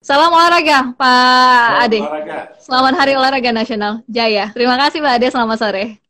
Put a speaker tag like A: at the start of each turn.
A: Salam olahraga, Pak
B: Salam
A: Ade.
B: olahraga.
A: Selamat Hari Olahraga Nasional. Jaya. Terima kasih, Pak Ade. Selamat sore.